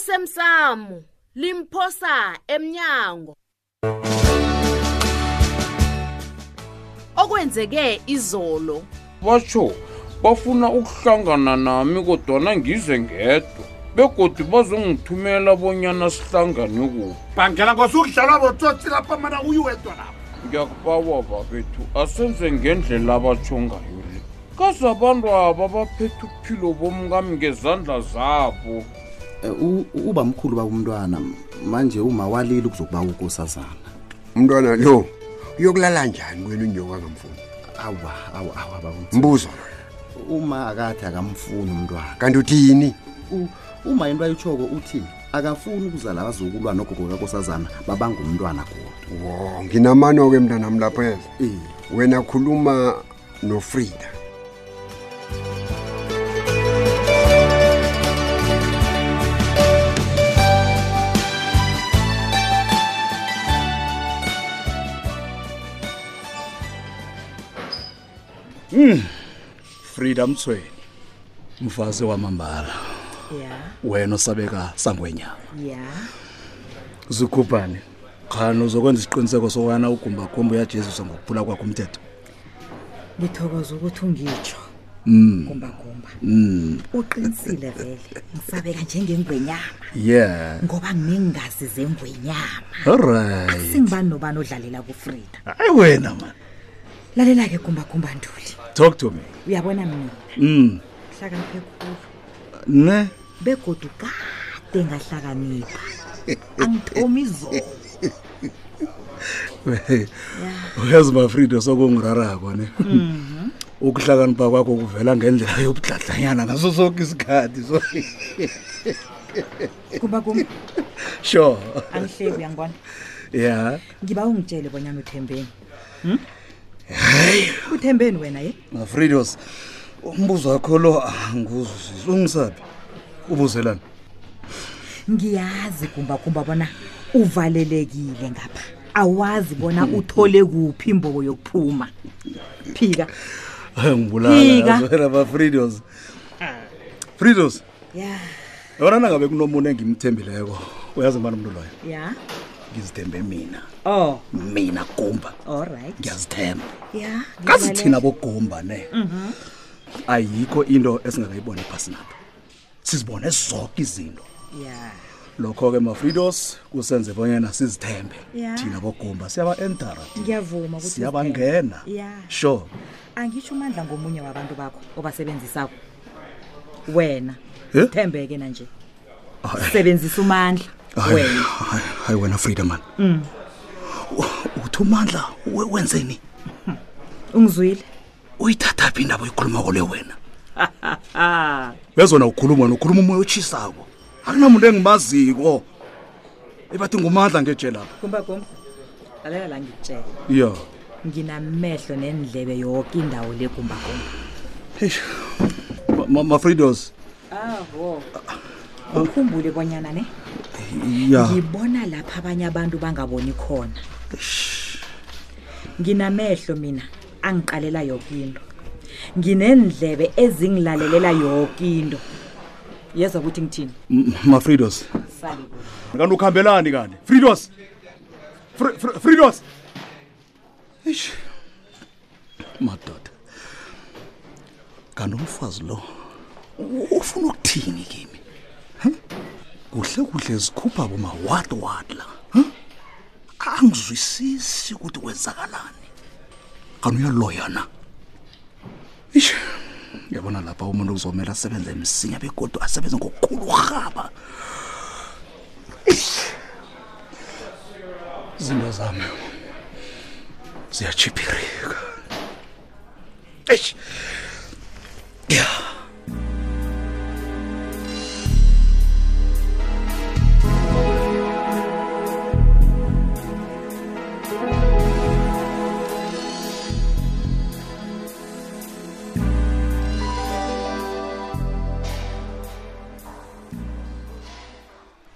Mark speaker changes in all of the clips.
Speaker 1: osemsamo limphosa emnyango okwenzeke izolo
Speaker 2: batsho bafuna ukuhlangana nami kodwana ngize ngedwa begodi bazongithumela bonyana sihlangane kuphi
Speaker 3: bangela ngosukudlalwa botsotsi lapha mana uyuwedwa lapha
Speaker 2: ngiyakubawa babethu asenze ngendlela abatsho ngayo le kaze abantu aba baphethe uphilo bomkami ngezandla zabo
Speaker 4: Eh, uba mkhulu baba umntwana manje uma walile ukuzokuba ukosazana
Speaker 5: umntwana lo uyokulala njani kwena unyoka kamfuni
Speaker 4: awa awa awa baba uMtsi.
Speaker 5: mbuzo loyo
Speaker 4: uma akathi akamfuni umntwana
Speaker 5: kanti uthini
Speaker 4: U- uma into ayitshoko uthi akafuni ukuzala abazukulwa nogogo kakosazana babanga umntwana kodwa
Speaker 5: wo nginamano-ke mntanam lapho yeza
Speaker 4: Eh,
Speaker 5: wena khuluma nofrida
Speaker 6: frida mthweni mfazi wamambala
Speaker 1: ya
Speaker 6: wena osabeka sangwenyama
Speaker 1: ya
Speaker 6: zikhuphane khani uzokwenza isiqiniseko sokubana ugumbagumba uyajeziswa ngokuphula kwakho umthetho
Speaker 7: ngithokoza ukuthi ungitsho
Speaker 8: Mm,
Speaker 7: gumbagumba uqinisile vele ngisabeka njengengwenyama
Speaker 6: yeah
Speaker 7: ngoba nginengazi zengwenyama
Speaker 6: olright
Speaker 7: singibani nobani odlalela kufrida
Speaker 6: hayi wena man
Speaker 7: lalela-ke gumbagumba ntuli
Speaker 6: talk to me
Speaker 7: uyabona mina
Speaker 6: mm.
Speaker 7: hlakaniphe khulu
Speaker 6: ne
Speaker 7: begodu kade ngahlakanipha angithomi izolo
Speaker 6: uyazi bafrida sokungirarako ne Mhm. ukuhlakanipha kwakho kuvela ngendlela yobudladlanyana ngaso sonke isikhathi so
Speaker 7: gumbagumba
Speaker 6: sure
Speaker 7: angihleki uyangibona
Speaker 6: ya
Speaker 7: ngiba ungitshele bonyana uthembeni
Speaker 6: Hmm?
Speaker 7: hayi uthembeni wena ye
Speaker 6: mafridos umbuzo wakho lo anguzuzisa ungisaphi ubuzelani
Speaker 7: ngiyazi gumbagumba bona uvalelekile ngapha awazi bona uthole kuphi imbobo yokuphuma phika Phika.
Speaker 6: ngibulala bafridos fridos
Speaker 7: ya
Speaker 6: yabona nangabe kunomuntu engimthembileko uyazi ngibani umuntu loyo
Speaker 7: ya
Speaker 6: ngizithembe mina
Speaker 7: oh
Speaker 6: mina gumba
Speaker 7: allright
Speaker 6: ngiyazithemba
Speaker 7: ya
Speaker 6: kazi thina bogumba ne
Speaker 7: Mhm.
Speaker 6: ayikho into esingakayibona ephasinapha sizibone zonke izinto
Speaker 7: ya
Speaker 6: lokho-ke mafridos kusenze bonyana sizithembe
Speaker 7: Ya.
Speaker 6: thina bogumba siyaba-entara
Speaker 7: ngiyavuma ukuthi
Speaker 6: siyabangena
Speaker 7: ya
Speaker 6: sure
Speaker 7: angitsho umandla ngomunye wabantu bakho obasebenzisako wena
Speaker 6: Eh?
Speaker 7: thembeke nanje
Speaker 6: Hayi.
Speaker 7: sebenzisa umandla
Speaker 6: Hayi,
Speaker 7: wena Mm.
Speaker 6: hayi, hayi wena frida man U- uthi umandla we- wenzeni
Speaker 7: ungizwile
Speaker 6: uyithathaphi indaba oyikhulumako le wena yezona ukhuluma nokhuluma umoya otshisako akunamuntu engimaziko ebathi ngumandla ngejelapha
Speaker 7: gumbagumba lalela la ngikutshela
Speaker 6: ya
Speaker 7: nginamehlo nendlebe yoke indawo legumbagumba
Speaker 6: mafridos
Speaker 7: aho ukhumbule bonyana ne
Speaker 6: ya
Speaker 7: ngibona lapha abanye abantu bangaboni khona nginamehlo mina angiqalela yoke into nginendlebe ezingilalelela yoke into yeza ukuthi ngithini
Speaker 6: M- mafridos
Speaker 7: sale
Speaker 6: kanti ukuhambelani kanti fridos Fri- Fri- fridos Eish. madoda kanti umfazi lo u- ufuna ukuthini kimi Huh? kuhle kuhle zikhupha boma wat wat la Huh? angizwisisi ukuthi kwenzakalani kanti uyaloya na Eish. yabona lapha umuntu kuzomele asebenze msinya begodwa asebenze ngokukhulu urhaba izinto zami ziyachiphirika eish ya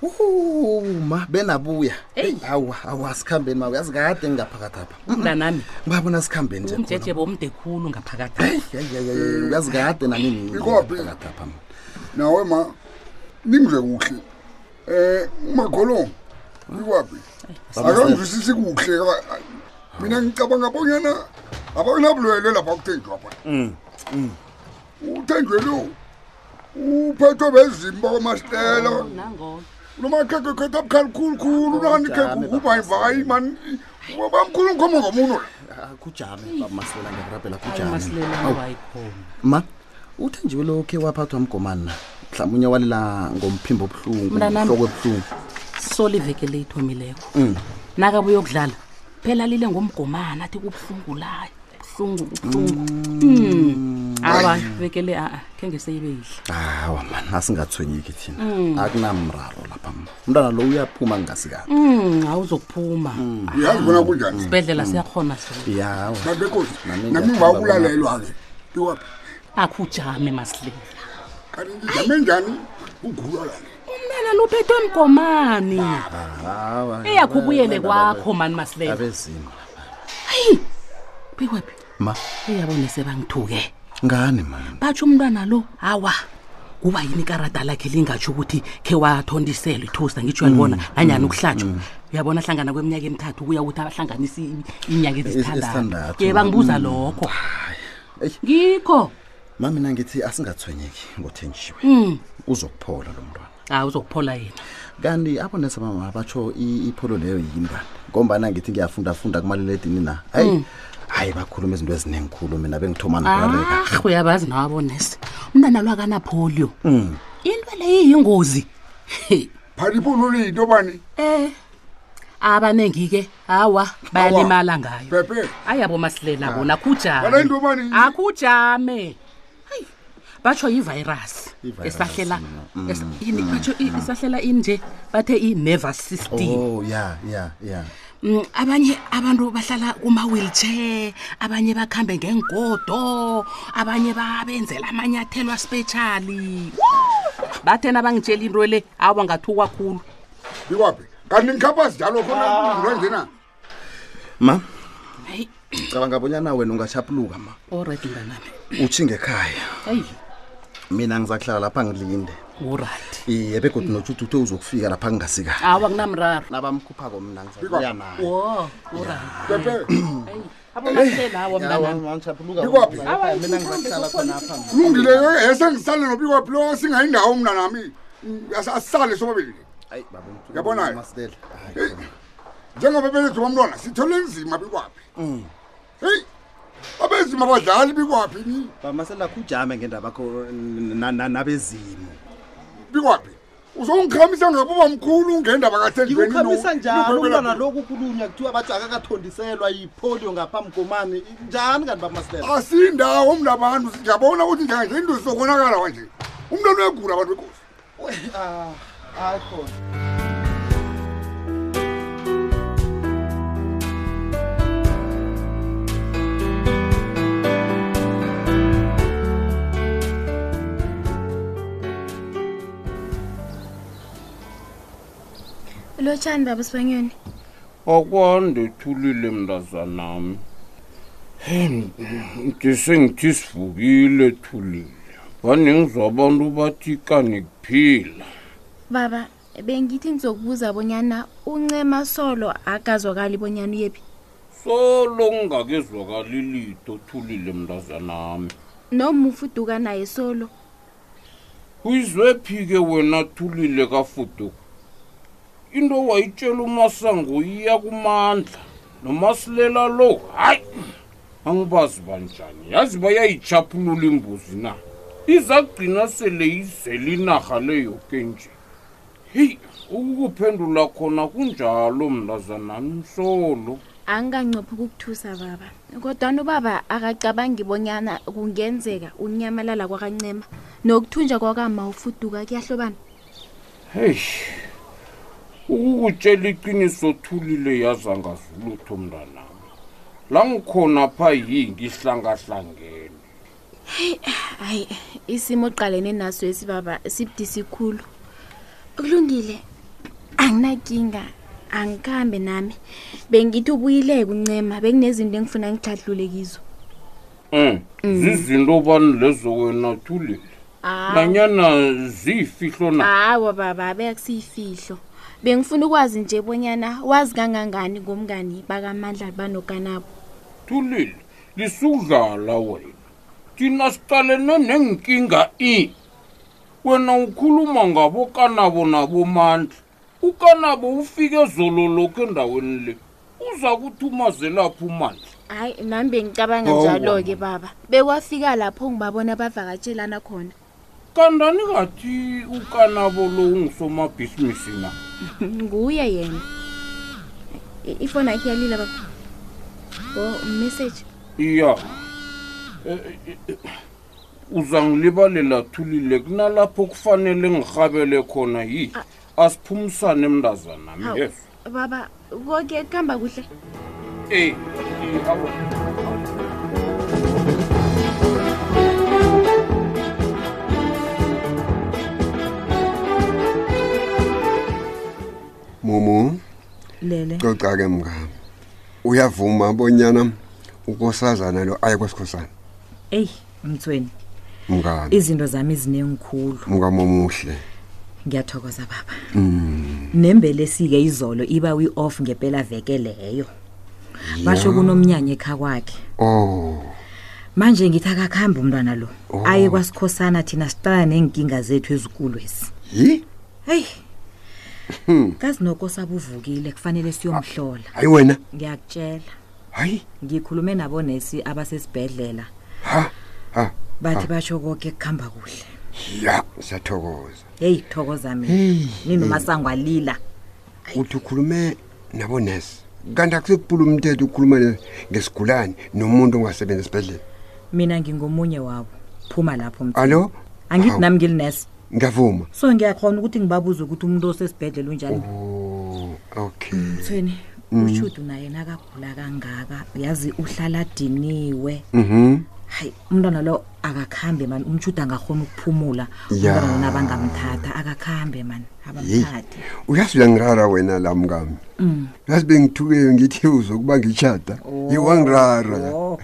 Speaker 4: uma benabuya awa awa sikhambeni ma uyazi kade ngingaphakathi apha
Speaker 8: mntanami
Speaker 4: ngibabona sikhambeni nje khona.
Speaker 8: umjeje bomde khulu ngaphakathi
Speaker 4: Hayi, hayi, hayi, uyazi kade nami
Speaker 3: Ikophi?
Speaker 4: ngingaphakathi apha ma.
Speaker 3: nawe ma ningidle kuhle
Speaker 5: Eh magolong ukwapi? Akangizwisisi kuhle ka- mina ngicabanga bonyana abanabulwele lapha kuthenjwa pa. Mhm. Uthenjwe lo uphethwe bezimba kwamastela. Noma kheke kheke abukhali khulu khulu nani kheke kuba ivayi man. Wabamkhulu ngoma ngomuno la.
Speaker 4: Ah, kujame babamasilela ngekurabhela kujame
Speaker 8: masilela wayikhona
Speaker 4: ma uthenjiwe lokhu waphathwa mgomani na mhlawumunye walela ngomphimbo obuhlungu
Speaker 8: Mna nami-
Speaker 4: hloko ebuhlungu
Speaker 8: soliveke leyithomileko nakabe uyokudlala phela lile ngomgomana athi kubuhlungu layo buhlungu buhlungu Mm. awa vekele a-a khe ngeseyibe yihle
Speaker 4: hawa mani asingathwenyeki thina
Speaker 8: Hmm.
Speaker 4: akunamraro lapha ma umntana lo uyaphuma ngingasikabi
Speaker 8: Mm, awuzokuphuma
Speaker 5: Uyazi bona kunjani?
Speaker 8: sibhedlela siyakhona sona
Speaker 4: yawa
Speaker 5: Babe kosi.
Speaker 4: Nami
Speaker 5: Nami
Speaker 4: ngiyathanda
Speaker 5: ngawulalelwa ke. Ukwapi?
Speaker 8: akhujame masilela
Speaker 5: Kanti ngijame njani? Ugula la.
Speaker 8: umntana luphethwe mgomani
Speaker 4: hawa
Speaker 8: eyakho ubuyele kwakho mani masilela
Speaker 4: abezima
Speaker 8: bikwephi
Speaker 4: ma
Speaker 8: eyabone sebangithuke
Speaker 4: ngani mani
Speaker 8: batsho umntwana lo awa kuba yini ikarada lakhe lingatsho ukuthi khe wathondiselwe ithosta ngitsho yalibona nanyani ukuhlatshwa uyabona hlangana kweminyaka emithathu kuya ukuthi abahlanganise i- iinyanga
Speaker 4: esithandathu.
Speaker 8: ezisithandathu ye bangibuza
Speaker 6: Mm.
Speaker 8: lokho
Speaker 4: Eish.
Speaker 8: ngikho
Speaker 4: ma mina ngithi asingathwenyeki ngothenjiwe
Speaker 8: Hmm.
Speaker 4: uzokuphola lo mntwana
Speaker 8: hayi Ah, uzokuphola yena
Speaker 4: kanti abonesa mama batsho i- ipholo leyo yimbani ngombana ngithi ngiyafundafunda kumaliledini na hayi hayi bakhuluma izinto eziningikhulu mina bengithoma nokubaleka
Speaker 8: ah uyabazi nawabonese umntana lo akanapolio into leyi yingozi He.
Speaker 5: Phaliphulu lento bani?
Speaker 8: eh abaningi-ke awa bayalimala ngayo
Speaker 5: Pepe.
Speaker 8: ayabo masilela
Speaker 4: Ah.
Speaker 8: bona
Speaker 5: Bala into bani?
Speaker 8: akujame akujame Hayi, batsho yivirus
Speaker 4: I-virus,
Speaker 8: esahlela
Speaker 4: mm,
Speaker 8: es- ini batsho i- isahlela ini nje bathe i-nervous system
Speaker 4: oh ya ya ya
Speaker 8: Mm, abanye abantu bahlala kuma-wheelchair abanye bakhambe ngengodo abanye babenzela amanyathelo aspetshali bathena bangitshela into le awa ngathukwa khulu
Speaker 5: Ikwapi? Kanti ngikhaphasi njalo khona ugula njena.
Speaker 4: ma
Speaker 8: hayi
Speaker 4: cabanga bonyana wena ungashapuluka ma
Speaker 8: orit mnganami
Speaker 4: utshinge ekhaya
Speaker 8: heyi
Speaker 4: mina ngizakuhlala lapha ngilinde
Speaker 8: orit
Speaker 4: iye begodi notshututhe uzokufika lapha kungasikayi
Speaker 8: awa kunamraro
Speaker 4: nabamkhuphako mna ngizakuya naye
Speaker 8: wo orit
Speaker 5: Pepe.
Speaker 8: abomaselawo mntanami
Speaker 5: Ikwaphi?
Speaker 4: mina ngizakuhlala khonapha
Speaker 5: Kulungile ke yese ngisale nobikwapi lo singayindawo mina nami. As- Asisale sobabili.
Speaker 4: hayi baba
Speaker 5: Uyabona ke?
Speaker 4: masilela
Speaker 5: Hey. Njengoba belethu bomntwana sithole nzima bikwapi. Mhm. Hey. Abezima badlali bikwapi ni?
Speaker 4: bamasilela khujame ngendaba yakho n- na- na- nabezimo
Speaker 5: Bikwapi? Uzongikhamisa ngabuba mkhulu ngendaba kaThembeni
Speaker 4: ngikukhamisa njalo umntwana loku kulunya kuthiwa bathi akakathondiselwa yipolio ngaphambi komane njani kanti bamasilela
Speaker 5: Asindawo mnabantu siyabona ukuthi njenge into sokonakala kanje. Umntwana uyagula abantu bekosi.
Speaker 4: hayi khona
Speaker 9: lotshani baba sibanyoni
Speaker 2: akwande thulile mntazanami Hey, ngisengithi sivukile thulile banengizwa abantu bathi kani kuphila
Speaker 9: baba bengithi ngizokubuza bonyana uncema solo akazwakali bonyana uyephi
Speaker 2: solo ngingakezwakali lito thulile mntazanami
Speaker 9: noma ufuduka naye solo
Speaker 2: uyizwe phi-ke wena thulile kafuduka into wayitshela umasango iya kumandla nomasilela lo hayi angibazi banjani yazi bayayitshaphulula imbuzi na izagcina sele izele inarha leyoke nje heyi ukukuphendula khona kunjalo mnazanami solo
Speaker 9: angingancophi ukukuthusa baba kodwana ubaba akacabangi bonyana kungenzeka unyamalala kwakancema nokuthunja kwakama ufuduka kuyahlobana
Speaker 2: heyi ukukutshela iqiniso thulile yaza ngazulutho mntanami la ngikhona pha yi ngihlangahlangene
Speaker 9: hayi isimo oqalene naso esi baba sibudisi khulu kulungile anginakinga angikhambe nami bengithi ubuyileke uncema bekunezinto engifuna ngidladlule kizo
Speaker 2: Mm, um zizinto bani lezo wena thulile
Speaker 9: Ah.
Speaker 2: nanyana ziyifihlo na
Speaker 9: hawa baba abekusiyifihlo bengifuna ukwazi nje bonyana wazi kangangani ngomngani bakamandla banokanabo
Speaker 2: thulile lisudlala wena thina siqalene nenkinga i wena ukhuluma ngabokanabo nabomandla ukanabo ufike zolo lokho endaweni le uza kuthi umazelaphi umandla
Speaker 9: hayi nami bengicabanga njalo-ke baba bekwafika lapho ngibabona bavakatshelana khona
Speaker 2: kandani ngathi ukanabo lo ungisomabhisimisi na
Speaker 9: nguye yena I- ifoni yakhe yalila baba o message
Speaker 2: iya Eh, eh, eh, uzangilibalela thulile kunalapho kufanele ngirhabele khona yi asiphumisane mntazanami
Speaker 9: Awu.
Speaker 2: yeso
Speaker 9: baba koke kuhamba kuhle
Speaker 2: Eh, eh, awu.
Speaker 5: mumu
Speaker 7: lele
Speaker 5: coca-ke mngami uyavuma bonyana ukosazana lo aye kwesikhosana
Speaker 7: eyi mthweni
Speaker 5: mngami
Speaker 7: izinto zami zinengikhulu
Speaker 5: mngami omuhle
Speaker 7: ngiyathokoza baba nembelesi-ke izolo iba we-off ngempela veke leyo basho kunomnyanya ekha kwakhe
Speaker 5: oh
Speaker 7: manje ngithi akakhambi umntwana lo
Speaker 5: Oh.
Speaker 7: aye kwasikhosana thina siqala neenkinga zethu ezikulwezi
Speaker 5: yi
Speaker 7: heyi
Speaker 5: Hmm.
Speaker 7: kazinoko sabe uvukile kufanele siyomhlola
Speaker 5: hayi wena
Speaker 7: ngiyakutshela
Speaker 5: hayi
Speaker 7: ngikhulume nabonesi abasesibhedlela
Speaker 5: ha ha
Speaker 7: bathi basho konke kuhamba kuhle
Speaker 5: ya siyathokoza
Speaker 7: heyi thokoza mina ninomasangwalila
Speaker 5: uthi ukhulume nabonesi kanti akusekubhula umthetho ukhuluma ne- ngesigulane nomuntu ongasebenzi esibhedlela
Speaker 7: mina ngingomunye wabo phuma lapho mthweni.
Speaker 5: allo
Speaker 7: angithi
Speaker 5: Hawu.
Speaker 7: nami ngilinesi
Speaker 5: ngiyavuma
Speaker 7: so ngiyakhona ukuthi ngibabuze ukuthi umuntu osesibhedlela unjani
Speaker 5: oh Mm. okay
Speaker 7: mthweni ushudu naye nakagula kangaka yazi uhlala adiniwe
Speaker 5: mhm
Speaker 7: hayi umntwana lo akakhambe mani umshudu angakhona ukuphumula
Speaker 5: Ya.
Speaker 7: umntwana lona bangamthatha akakhambe mani
Speaker 5: yeyi
Speaker 7: abamthathe
Speaker 5: uyazi uyangirara wena la mngami uyazi bengithukeyo ngithi uzokuba ngitshata iwangirara
Speaker 7: Oh.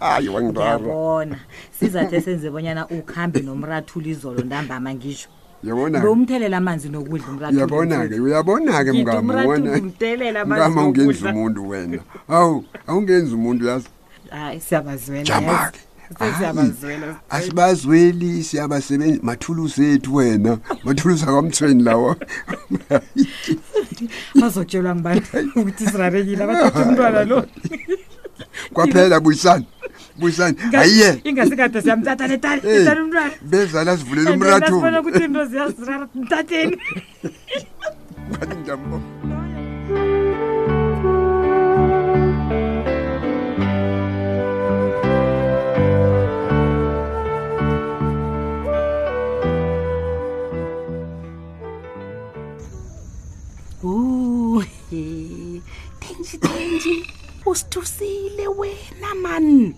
Speaker 5: hayi wangirara
Speaker 7: ngiyabona sizathe senze bonyana ukhambe nomrathula izolo ntambama ngisho
Speaker 5: uyabona
Speaker 7: ngomthelela amanzi nokudla
Speaker 5: uyabona-ke uyabona-ke
Speaker 7: Ngithi
Speaker 5: mngami
Speaker 7: umrathu
Speaker 5: ubona?
Speaker 7: ngimdelela amanzi
Speaker 5: Mngami, awungenzi
Speaker 7: nokudla.
Speaker 5: umuntu wena awu awungenzi umuntu uyazi
Speaker 7: hayi siyabazwela
Speaker 5: jama-ke
Speaker 7: yes.
Speaker 5: Hayi,
Speaker 7: sesiyabazwela
Speaker 5: asibazweli siyabasebenzi mathulusi ethu wena mathulusi akwamthweni lawa
Speaker 7: bazotshelwa ngibantu ukuthi sirarekile abathatha umntwana lo
Speaker 5: kwaphela buyisani buyisani ayiye
Speaker 7: ingasikade siyamthatha netani
Speaker 5: Hey,
Speaker 7: netani umntwana
Speaker 5: bezali asivulela
Speaker 7: And then nasibona
Speaker 5: umrathu
Speaker 7: ukuthi into ziyazirara mthatheni
Speaker 8: uhe tenji tenji usithusile wena Ah, mani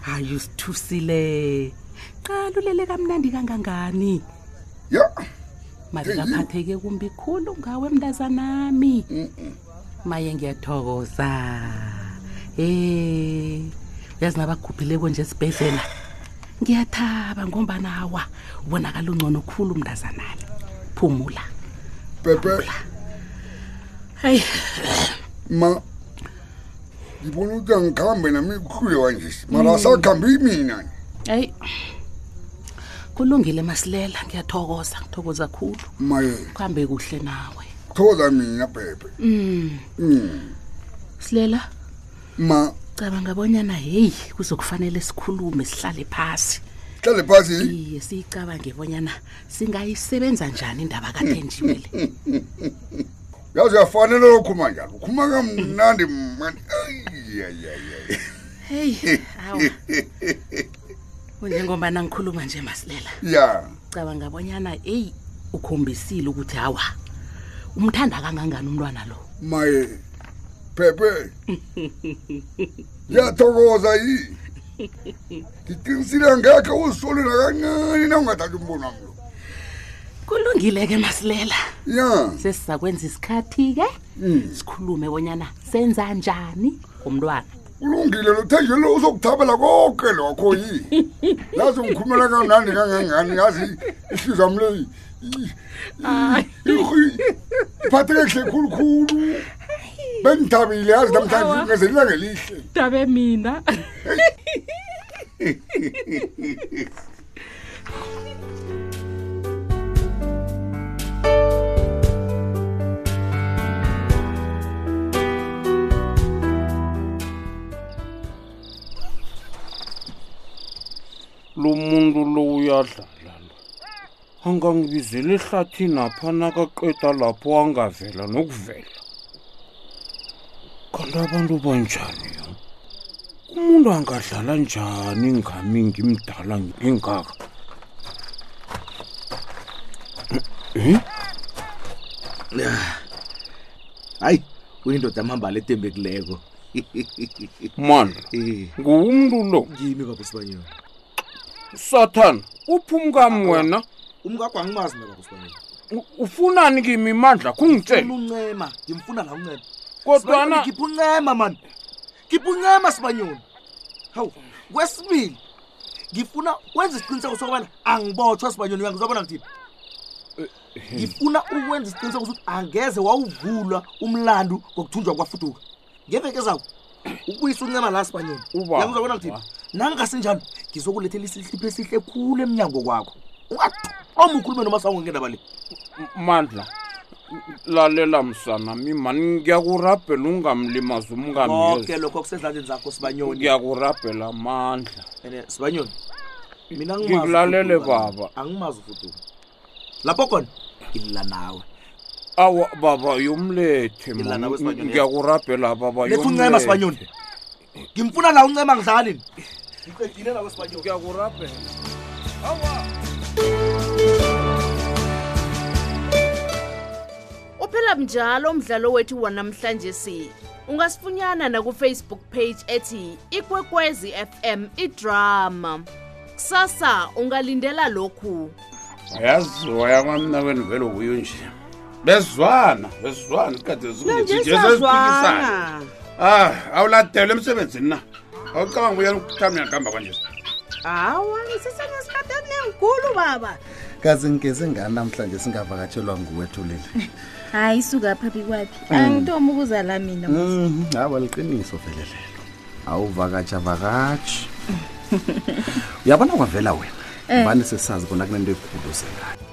Speaker 8: hayi usithusile qalulele kamnandi kangangani
Speaker 5: ya
Speaker 8: mari ngaphatheke kumbi khulu ngawe mntazanami maye ngiyathokoza
Speaker 5: Ah.
Speaker 8: Eh uyazi nabakhuphileko nje esibhedlela ngiyathaba ngombanawa ubonakala ungcono khulu mntazanami phumula
Speaker 5: pepe
Speaker 8: hayi
Speaker 5: ma ngibona ukuthi angikhambe nami kuhlule kanje mara asakhambi mina
Speaker 8: hayi kulungile masilela ngiyathokoza ngithokoza khulu
Speaker 5: maye
Speaker 8: kuhambe kuhle nawe
Speaker 5: thokoza mina pepe
Speaker 8: mm.
Speaker 5: Mm.
Speaker 8: silela
Speaker 5: ma
Speaker 8: cabanga bonyana heyi kuzokufanele sikhulume sihlale phasi
Speaker 5: hlale phasi
Speaker 8: iye siyicabange bonyana singayisebenza njani indaba kathenjiwele
Speaker 5: yazi uyafanele lokhuluma njalo ukhuluma kamnandi mani ayiyayayayi
Speaker 8: heyi awa njengobana ngikhuluma nje masilela
Speaker 5: ya
Speaker 8: cabanga bonyana eyi ukhombisile ukuthi hawa umthanda kangangani umntwana lo
Speaker 5: maye pepe ngiyathokoza yi ngiqinisile angekhe uzisole nakancane na ungathathi umbono wami lo
Speaker 8: kulungile-ke masilela
Speaker 5: ya Mm.
Speaker 8: sesizakwenza isikhathi-ke sikhulume bonyana senza njani ngomntwana
Speaker 5: ulungile lo thenjelo uzokuthabela konke lokho yini yazi ngikhumela kamnandi kangangani yazi ihliziyo yami le iphatheke kuhle khulukhulu bengithabile yazi namhlanje ngezelila ngelihle
Speaker 8: dabe mina
Speaker 2: lo muntu lo uyadlala lo angangibizela ehlathini apha nakaqeda lapho angavela nokuvela kanti abantu banjani yo umuntu angadlala njani ngami ngimdala ngingaka
Speaker 10: hayi uyindoda amhambala etembekileko
Speaker 2: mandla
Speaker 10: Eh,
Speaker 2: ngumuntu lo
Speaker 10: ngimi baba usibanyoni
Speaker 2: sathana uphumkam wena
Speaker 10: umkakho angimazi mina baba usibanyoni
Speaker 2: U- ufunani kimi mandla
Speaker 10: Ngifuna
Speaker 2: khungitshela
Speaker 10: uncema ngimfuna la uncema
Speaker 2: kodwana
Speaker 10: Sibanyoni, khipha uncema mani khipha uncema sibanyoni hawu kwesibili ngifuna wenza isiqiniseko sokubana angibotshwa sibanyoni uyangizobona ngithini ngifuna ukwenza isiqiniseko sokuthi angeze wawuvulwa umlandu ngokuthunjwa kwafuduka ngeveke zakho ubuyisa uncema la sibanyoni
Speaker 2: Ubaba.
Speaker 10: uyangizobona ngithini nangasinjalo ngizokulethela isihlipho esihle khulu emnyango kwakho ungatoma ukhulume nomasango ngendaba le
Speaker 2: mandla lalela msana mimani ngiyakurabhela ungamlimazi umngami
Speaker 10: konke lokho kusezandleni zakho sibanyoni
Speaker 2: ngiyakurabhela amandla
Speaker 10: ene sibanyoni mina angimazi
Speaker 2: Ngikulalele,
Speaker 10: uFuduka mina.
Speaker 2: baba.
Speaker 10: angimazi ufuduka lapho khona ngilila nawe
Speaker 2: awa baba yomlethe
Speaker 10: Ngilana
Speaker 2: man.
Speaker 10: kwesibanyoni, yes.
Speaker 2: ngiyakurabhela baba
Speaker 10: letha uncema sibanyoni ngimfuna la uncema ngidlali ngiqedile la kwesibanyoni
Speaker 2: ngiyakurabhela
Speaker 1: uphela mnjalo umdlalo wethu wanamhlanje si ungasifunyana nakufacebook page ethi ikwekwezi fm idrama kusasa ungalindela lokhu
Speaker 2: ayaziwa yakwamnakweni vele kuyo nje bezwana bezwana ikade
Speaker 11: siyazwana.
Speaker 2: ah awuladelwe emsebenzini na awucabanga ubuyela ukuhlamla ngihamba kwanje
Speaker 11: hawa sisenesikhathi eningikhulu baba
Speaker 4: kazi ngigeze ngani namhlanje singavakatshelwa nguwethulile
Speaker 9: hayi suka phaphi kwaphi angitoma ukuzala mina
Speaker 4: hawa Mhm, liqiniso velelelo awuvakatsha vakatshi uyabona kwavela wena vane sesazi kona kunento ekhulu sengayo